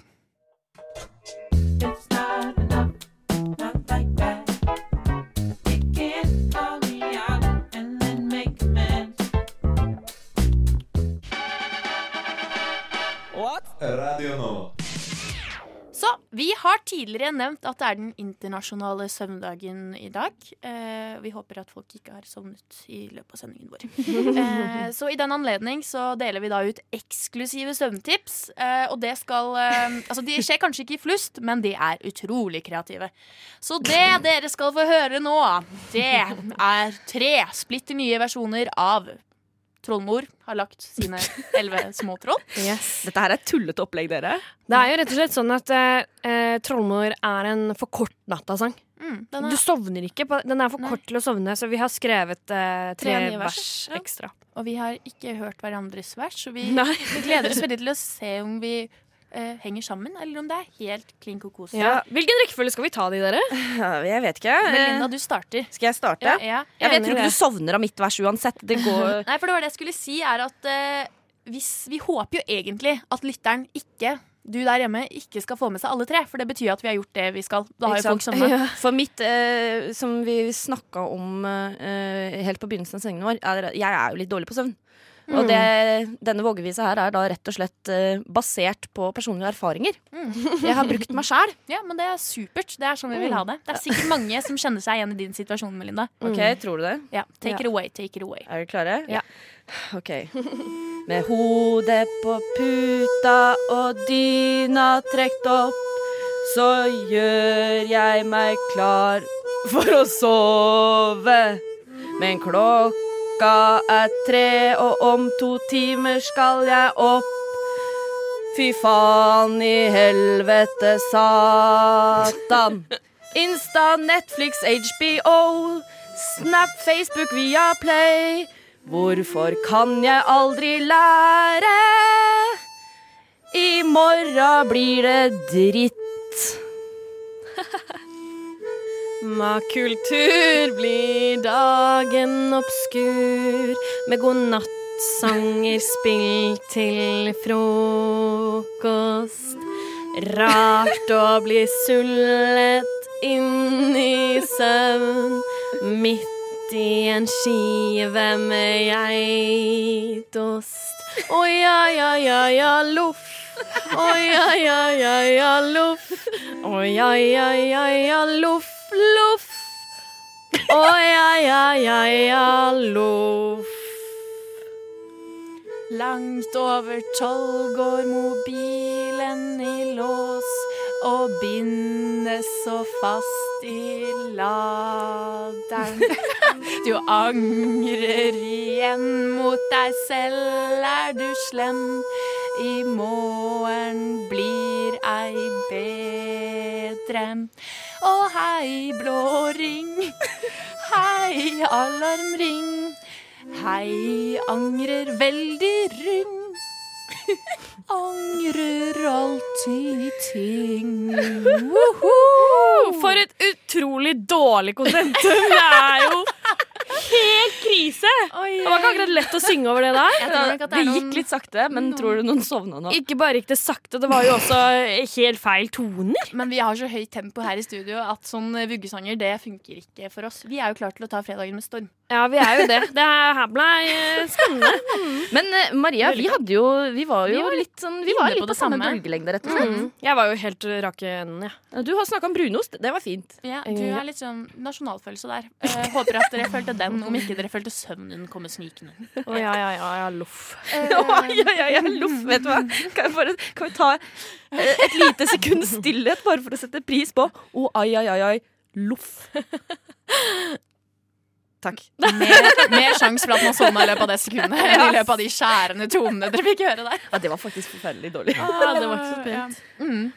Speaker 3: Så vi har tidligere nevnt at det er den internasjonale søvndagen i dag. Eh, vi håper at folk ikke har sovnet i løpet av sendingen vår. Eh, så i den anledning så deler vi da ut eksklusive søvntips. Eh, og det skal eh, Altså, de skjer kanskje ikke i flust, men de er utrolig kreative. Så det dere skal få høre nå, det er tre splitter nye versjoner av Trollmor har lagt sine elleve små troll.
Speaker 5: Yes.
Speaker 4: Dette her er et tullete opplegg, dere.
Speaker 5: Det er jo rett og slett sånn at eh, eh, Trollmor er en for kort natta-sang.
Speaker 7: Sånn,
Speaker 3: Mm, den
Speaker 5: Du
Speaker 3: er,
Speaker 5: sovner ikke. På, den er for
Speaker 3: Nei.
Speaker 5: kort til å sovne, så vi har skrevet eh, tre,
Speaker 3: nye vers,
Speaker 5: vers,
Speaker 3: ja.
Speaker 5: ekstra.
Speaker 3: og vi har ikke hørt hverandres vers, så vi
Speaker 7: Nei.
Speaker 3: Vi gleder oss veldig til å se om vi eh, henger sammen, eller om det er helt klin kokos.
Speaker 7: Ja. Hvilken rekkefølge skal vi ta de, dere?
Speaker 4: Jeg vet ikke.
Speaker 3: Melinda, du starter.
Speaker 4: Skal jeg starte?
Speaker 3: Ja, ja.
Speaker 4: Jeg, vet,
Speaker 5: Enig
Speaker 4: tror
Speaker 5: i
Speaker 4: ikke
Speaker 5: det.
Speaker 4: du sovner av mitt vers uansett. Det går
Speaker 3: Nei, for det var det jeg skulle si, er at eh, hvis, vi håper jo egentlig at lytteren ikke du der hjemme ikke skal få med seg alle tre, for det betyr at vi har gjort det vi skal. Da har jo
Speaker 4: Ikke
Speaker 3: folk
Speaker 4: sant?
Speaker 3: sovnet.
Speaker 4: For mitt, eh, som vi snakka om eh, helt på begynnelsen av sendingen vår, er jeg er jo litt dårlig på søvn.
Speaker 3: Mm.
Speaker 4: Og det, denne vågevisa her er da rett og slett eh, basert på personlige erfaringer. Jeg har brukt meg sjæl.
Speaker 3: Ja, men det er supert. Det er sånn vi vil ha det. Det er sikkert mange som kjenner seg igjen i din situasjon, Melinda.
Speaker 4: Ok, tror du det?
Speaker 3: Ja, take it away, take it away.
Speaker 4: Er dere klare?
Speaker 3: Ja.
Speaker 4: Ok. Med hodet på puta og dyna trekt opp, så gjør jeg meg klar for å sove. Men klokka er tre, og om to timer skal jeg opp. Fy faen i helvete, satan. Insta, Netflix, HBO, Snap, Facebook, via Play. Hvorfor kan jeg aldri lære? I morgen blir det dritt.
Speaker 5: Makultur blir dagen obskur med godnattsanger spilt til frokost. Rart å bli sullet inn i søvn midt i en skive med geitost. Å ja, ja, ja, ja, loff. Å ja, ja, ja, ja, loff. Å ja, ja, ja, ja, loff, loff. Å ja, ja, ja, ja, loff.
Speaker 3: Langt over tolv går mobilen i lås og bindes så fast i laderen. Du angrer igjen mot deg selv, er du slem. I morgen blir ei bedre. Å hei, blå ring. Hei, alarmring. Hei, angrer veldig rund. Angrer alltid ting. Woho!
Speaker 5: For et utrolig dårlig kontentum! Det er jo helt krise! Det var ikke akkurat lett å synge over det der.
Speaker 4: Det gikk litt sakte, men tror du noen sovna nå?
Speaker 5: Ikke bare gikk det sakte, det var jo også helt feil toner.
Speaker 3: Men vi har så høyt tempo her i studio at sånn vuggesanger det funker ikke for oss. Vi er jo klar til å ta fredagen med storm.
Speaker 5: Ja, vi er jo det. Det her ble eh, spennende.
Speaker 4: Men eh, Maria, vi hadde jo Vi var jo
Speaker 3: Vi var
Speaker 4: litt sånn Vi
Speaker 3: inne
Speaker 4: var
Speaker 3: på
Speaker 4: litt på
Speaker 3: det
Speaker 4: samme
Speaker 3: samme.
Speaker 4: bølgelengde, rett og slett.
Speaker 5: Mm. Jeg var jo helt eh, rak i enden, jeg.
Speaker 4: Du har snakka om brunost. Det var fint.
Speaker 3: Ja, du er litt sånn nasjonalfølelse der. Eh, håper at dere følte den, om ikke dere følte søvnen komme snikende.
Speaker 5: Å ja, ja, ja, ja, loff.
Speaker 4: Oi, oi, oi, oi, loff, vet du hva. Kan, jeg bare, kan vi ta eh, et lite sekunds stillhet bare for å sette pris på Å, ai, ai, ai, ai, loff. Takk.
Speaker 3: Mer, mer sjanse for at man sovna i løpet av det sekundet enn i løpet av de skjærende tonene dere fikk høre der.
Speaker 4: Ja, det var faktisk forferdelig dårlig.
Speaker 5: Ja, det var ikke så pent.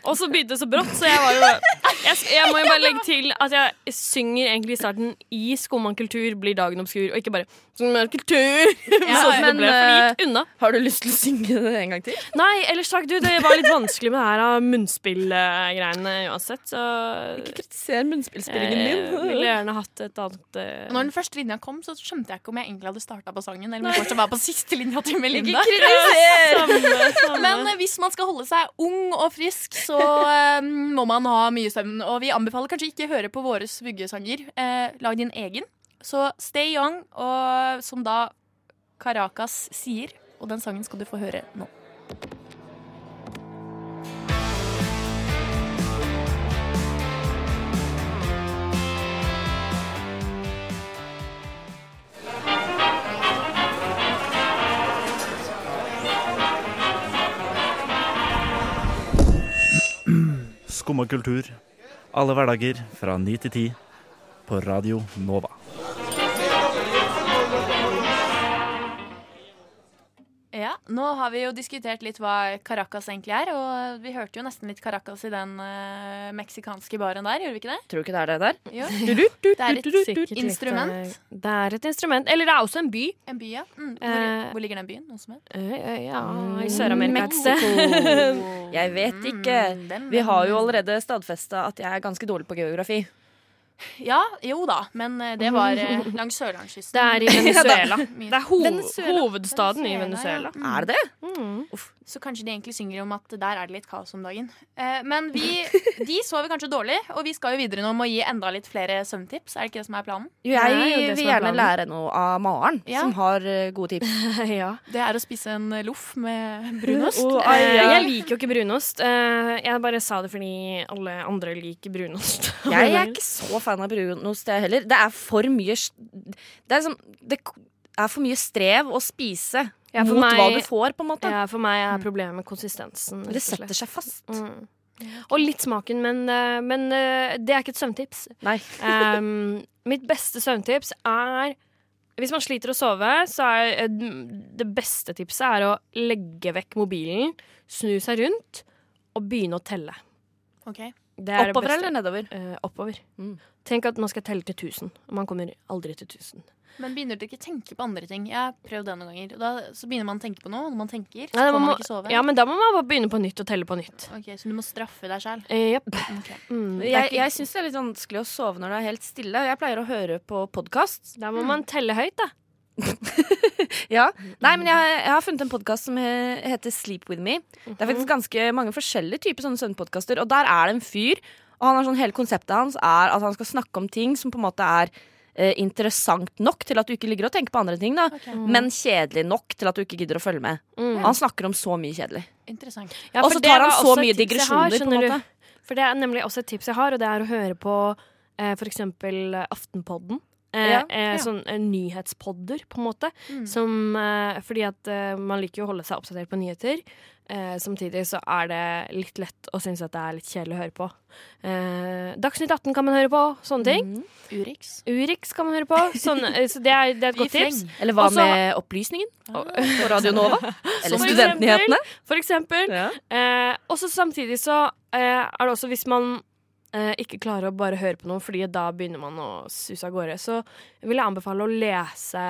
Speaker 5: Og så begynte det så brått, så jeg var jo jeg, jeg må jo bare legge til at jeg synger egentlig i starten i Skumman kultur blir dagen obskur, og ikke bare Skumman kultur! sånn som det
Speaker 4: men,
Speaker 5: ble, for det gikk unna.
Speaker 4: Har du lyst til å synge den en gang til?
Speaker 5: Nei, ellers takk, du. Det var litt vanskelig med det her av munnspillgreiene uansett, så
Speaker 4: Kritiser munnspillspillingen
Speaker 5: Eh, jeg ville
Speaker 4: din.
Speaker 5: gjerne hatt et annet eh,
Speaker 3: Når den første linja kom, så skjønte jeg ikke om jeg egentlig hadde starta på sangen, eller om jeg fortsatt var på siste linja til Melinda.
Speaker 5: samme, samme.
Speaker 3: Men eh, hvis man skal holde seg ung og frisk, så eh, må man ha mye søvn. Og vi anbefaler kanskje ikke høre på våre vuggesanger. Eh, lag din egen. Så stay young, og som da Caracas sier. Og den sangen skal du få høre nå.
Speaker 1: Skum og kultur. Alle hverdager fra 9 til 10 på Radio Nova.
Speaker 3: Ja, Nå har vi jo diskutert litt hva Caracas egentlig er, og vi hørte jo nesten litt Caracas i den eh, meksikanske baren der, gjorde vi ikke det?
Speaker 4: Tror du ikke det er det der?
Speaker 3: Jo.
Speaker 4: Det
Speaker 3: Det er et
Speaker 9: Sikkert
Speaker 3: instrument.
Speaker 9: litt, eh, Det er et instrument. Eller det er også en by.
Speaker 3: En by, ja. Mm, hvor,
Speaker 9: Eh.
Speaker 3: hvor ligger den byen? Noen som vet?
Speaker 9: Eh, eh, Ja, i Sør-Amerika et sted.
Speaker 4: Jeg vet ikke.
Speaker 3: den-
Speaker 4: Eh, Vi har jo allerede stadfesta at jeg er ganske dårlig på geografi.
Speaker 3: Ja, jo da, men eh, det var eh, langs sørlandskysten.
Speaker 9: Det er i Venezuela.
Speaker 5: Det er ho
Speaker 3: Venezuela.
Speaker 5: hovedstaden i Venezuela.
Speaker 3: ja.
Speaker 4: Er det det?
Speaker 3: Så kanskje de egentlig synger om at der er det litt kaos om dagen. Eh, men vi, de sover kanskje dårlig, og vi skal jo videre nå med å gi enda litt flere søvntips. Er det ikke det som er planen?
Speaker 9: Det
Speaker 4: Jo, jeg
Speaker 9: er jo det som
Speaker 4: vil
Speaker 9: er
Speaker 4: gjerne
Speaker 9: planen.
Speaker 4: lære noe av Maren,
Speaker 3: Ja.
Speaker 4: som har eh, gode tips.
Speaker 9: ja.
Speaker 3: Det er å spise en eh, loff med brunost.
Speaker 9: Eh, Jeg liker jo ikke brunost. Eh, Jeg bare sa det fordi alle andre liker brunost.
Speaker 4: Jeg er ikke så fan av brunost, jeg heller. Det er for mye s- Det er, som, det k- er for mye strev å spise
Speaker 9: Ja, for
Speaker 4: mot hva
Speaker 9: meg-
Speaker 4: du får, på en måte.
Speaker 9: ja, For meg er problemet konsistensen.
Speaker 4: Det setter seg fast.
Speaker 9: Mm.
Speaker 5: Og litt smaken, men, eh, men eh, det er ikke et søvntips.
Speaker 4: Nei.
Speaker 5: Ehm, mitt beste søvntips er Hvis man sliter å sove, så er eh, det beste tipset er å legge vekk mobilen, snu seg rundt og begynne å telle. Det er det
Speaker 4: Oppover
Speaker 5: beste.
Speaker 4: eller nedover?
Speaker 5: Eh, oppover.
Speaker 4: Mm.
Speaker 5: Tenk at man skal telle til 1000, og man kommer aldri til 1000.
Speaker 3: Men begynner du ikke å tenke på andre ting? Jeg har prøvd det noen ganger. Og da, så begynner man å tenke på noe, og når man tenker, så
Speaker 5: Nei,
Speaker 3: får
Speaker 5: man
Speaker 3: man
Speaker 5: må-
Speaker 3: ikke sove.
Speaker 5: Ja, men da må man bare begynne på nytt og telle på nytt.
Speaker 3: Ok, Så du må straffe deg sjæl?
Speaker 5: Eh, Jepp.
Speaker 3: Ok.
Speaker 5: Mm. Det er
Speaker 4: Jeg,
Speaker 5: ikke-
Speaker 4: jeg syns det er litt vanskelig å sove når det er helt stille. Jeg pleier å høre på podkast.
Speaker 5: Da må man telle høyt, da.
Speaker 4: Ja. Nei, men jeg, jeg har funnet en podkast som he- heter Sleep With Me. Det er faktisk ganske mange forskjellige typer sånne søvnpodkaster, og der er det en fyr. Og han har sånn, hele konseptet hans er at han skal snakke om ting som på en måte er eh, interessant nok til at du ikke ligger og tenker på andre ting, da. Men kjedelig nok til at du ikke gidder å følge med.
Speaker 5: Mm.
Speaker 4: Han snakker om så mye kjedelig.
Speaker 3: Interessant.
Speaker 5: Ja,
Speaker 4: Og
Speaker 5: for
Speaker 4: så
Speaker 5: det
Speaker 4: tar
Speaker 5: var
Speaker 4: han
Speaker 5: også
Speaker 4: så
Speaker 5: et tips
Speaker 4: mye
Speaker 5: jeg har,
Speaker 4: digresjoner, på en
Speaker 5: skjønner du.
Speaker 4: måte.
Speaker 5: For det er nemlig også et tips jeg har, og det er å høre på eh, for eksempel eh, Aftenpodden. Eh,
Speaker 4: Ja,
Speaker 5: eh, Sånn eh, nyhetspodder, på en måte. Som, eh, fordi at eh, man liker jo å holde seg oppdatert på nyheter. Eh, samtidig så er det litt lett å synes at det er litt kjedelig å høre på. Eh, Dagsnytt 18 kan man høre på, sånne ting.
Speaker 3: Urix.
Speaker 5: Urix kan man høre på. Sånne, eh, så det er, det er et godt tips.
Speaker 4: Eller hva
Speaker 5: Også-
Speaker 4: med opplysningen på Radio Nova? Eller
Speaker 5: For
Speaker 4: Studentnyhetene?
Speaker 5: eksempel- For eksempel.
Speaker 4: Ja.
Speaker 5: Eh, og så samtidig så eh, er det også hvis man eh, ikke klarer å bare høre på noe, fordi da begynner man å suse av gårde, så vil jeg anbefale å lese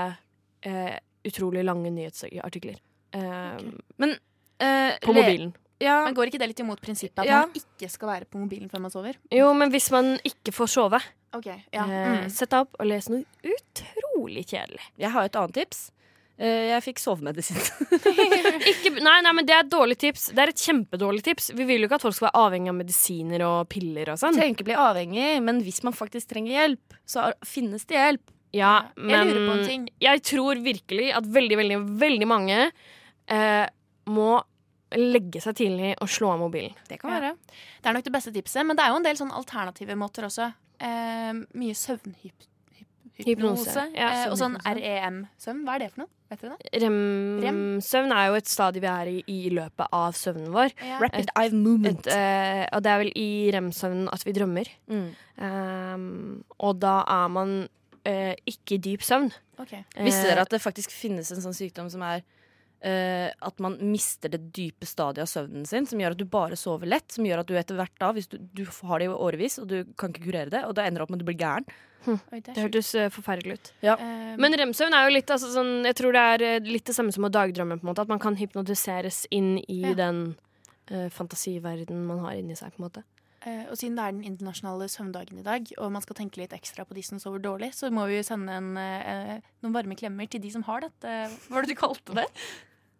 Speaker 5: eh, utrolig lange nyhetsartikler. Eh,
Speaker 4: Eh,
Speaker 5: På
Speaker 4: le-
Speaker 5: mobilen.
Speaker 4: Ja,
Speaker 3: Men Går ikke det litt imot prinsippet at
Speaker 4: Ja.
Speaker 3: man ikke skal være på mobilen før man sover?
Speaker 5: Jo, men hvis man ikke får sove,
Speaker 3: Ok, ja.
Speaker 5: eh,
Speaker 3: Mm.
Speaker 5: sett deg opp og les noe utrolig kjedelig.
Speaker 4: Jeg har et annet tips. Eh, Jeg fikk sovemedisin.
Speaker 3: Mm.
Speaker 5: Ikke, nei, nei, men Det er et dårlig tips. Det er et kjempedårlig tips. Vi vil jo ikke at folk skal være avhengig av medisiner og piller og sånn.
Speaker 4: Trenger ikke bli avhengig, men hvis man faktisk trenger hjelp, så er- finnes det hjelp.
Speaker 5: Ja,
Speaker 3: Jeg
Speaker 5: men
Speaker 3: lurer på en ting.
Speaker 5: jeg tror virkelig at veldig, veldig, veldig mange eh, må legge seg tidlig og slå av mobilen.
Speaker 4: Det
Speaker 3: kan være. Det er nok det beste tipset, men det er jo en del sånn alternative måter også. Eh, mye søvnhypnose. Hypnose.
Speaker 5: Hypnose, ja,
Speaker 3: eh, og sånn
Speaker 5: søvnhypnose.
Speaker 3: REM-søvn. Hva er det for noe? Vet dere det? Rem?
Speaker 5: Rem-søvn er jo et stadie vi er i i løpet av søvnen vår.
Speaker 4: Rapid eye movement.
Speaker 5: Et, eh, og det er vel i rem-søvnen at vi drømmer.
Speaker 4: Mm.
Speaker 5: Ehm, og da er man eh, ikke i dyp søvn.
Speaker 3: Ok.
Speaker 4: Visste dere at det faktisk finnes en sånn sykdom som er eh, at man mister det dype stadiet av søvnen sin, som gjør at du bare sover lett, som gjør at du etter hvert da, hvis du, du har det i årevis, og du kan ikke kurere det, og det ender opp med at du blir gæren.
Speaker 3: Oi, det er
Speaker 5: Det
Speaker 3: sjukt.
Speaker 5: hørtes eh, forferdelig ut.
Speaker 3: Eh,
Speaker 5: Men remsøvn er jo litt altså, sånn, Jeg tror det er eh, litt det samme som å dagdrømme. på en måte At man kan hypnotiseres inn i
Speaker 3: Ja.
Speaker 5: den eh, fantasiverdenen man har inni seg. på en måte
Speaker 3: eh, og siden det er den internasjonale søvndagen i dag, og man skal tenke litt ekstra på de som sover dårlig, så må vi jo sende en, eh, noen varme klemmer til de som har dette. Hva var det du kalte det?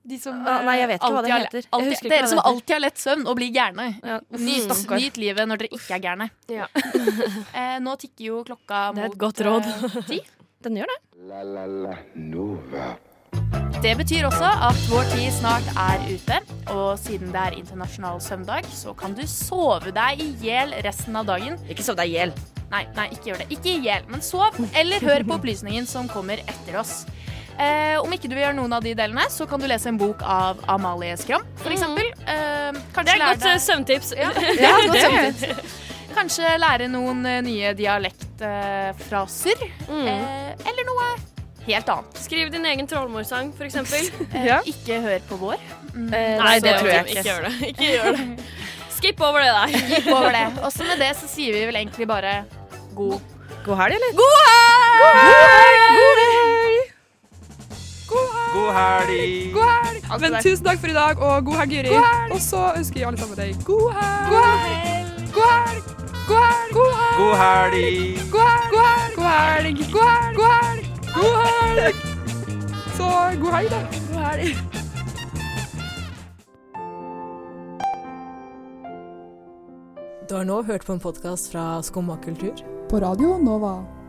Speaker 3: De som
Speaker 4: Ah, nei, jeg vet ikke
Speaker 3: eh, alltid
Speaker 4: hva det heter. Jeg
Speaker 3: har- alltid-
Speaker 4: husker ikke hva
Speaker 3: dere
Speaker 4: det
Speaker 3: som
Speaker 4: heter.
Speaker 3: alltid har lett søvn og blir gærne.
Speaker 4: Ja.
Speaker 3: Nyt, nyt livet når dere ikke er gærne.
Speaker 5: Ja.
Speaker 3: eh, nå tikker jo klokka mot
Speaker 5: Det er et godt råd.
Speaker 3: eh, ti.
Speaker 4: Den gjør det.
Speaker 2: La la la Nova.
Speaker 3: Det betyr også at vår tid snart er ute, og siden det er internasjonal søvndag, så kan du sove deg i hjel resten av dagen.
Speaker 4: Ikke sov deg i hjel.
Speaker 3: Nei, nei, ikke gjør det. Ikke i hjel, men sov, eller hør på opplysningen som kommer etter oss. Eh, om ikke du vil gjøre noen av de delene, så kan du lese en bok av Amalie Skram, for eksempel. Eh, kanskje
Speaker 5: Mm. Det er et
Speaker 3: lære
Speaker 5: godt eh,
Speaker 3: deg-
Speaker 5: søvntips.
Speaker 3: Ja, det er et godt søvntips. Kanskje lære noen eh, nye dialektfraser,
Speaker 5: Mm.
Speaker 3: eh, eller noe helt annet.
Speaker 5: Skriv din egen trollmorsang, for eksempel. Altså,
Speaker 3: Eh, Ikke hør på vår. Mm.
Speaker 4: Eh, nei, det tror jeg
Speaker 5: Ikke
Speaker 4: ikke.
Speaker 5: gjør det. Ikke gjør det. Skip over det der.
Speaker 3: Gikk over det. Og så med det så sier vi vel egentlig bare god
Speaker 4: God helg, eller?
Speaker 10: God helg!
Speaker 11: Men tusen takk for i dag, og Altså, god helg, Juri. Og så ønsker vi alle sammen deg god helg. God helg! God helg! God helg! God helg!
Speaker 10: God helg!
Speaker 11: God helg! God helg! God helg! God helg! God helg! Så god helg, da. God helg.
Speaker 12: Du har nå hørt på en podkast fra Skumma kultur.
Speaker 13: På Radio Nova.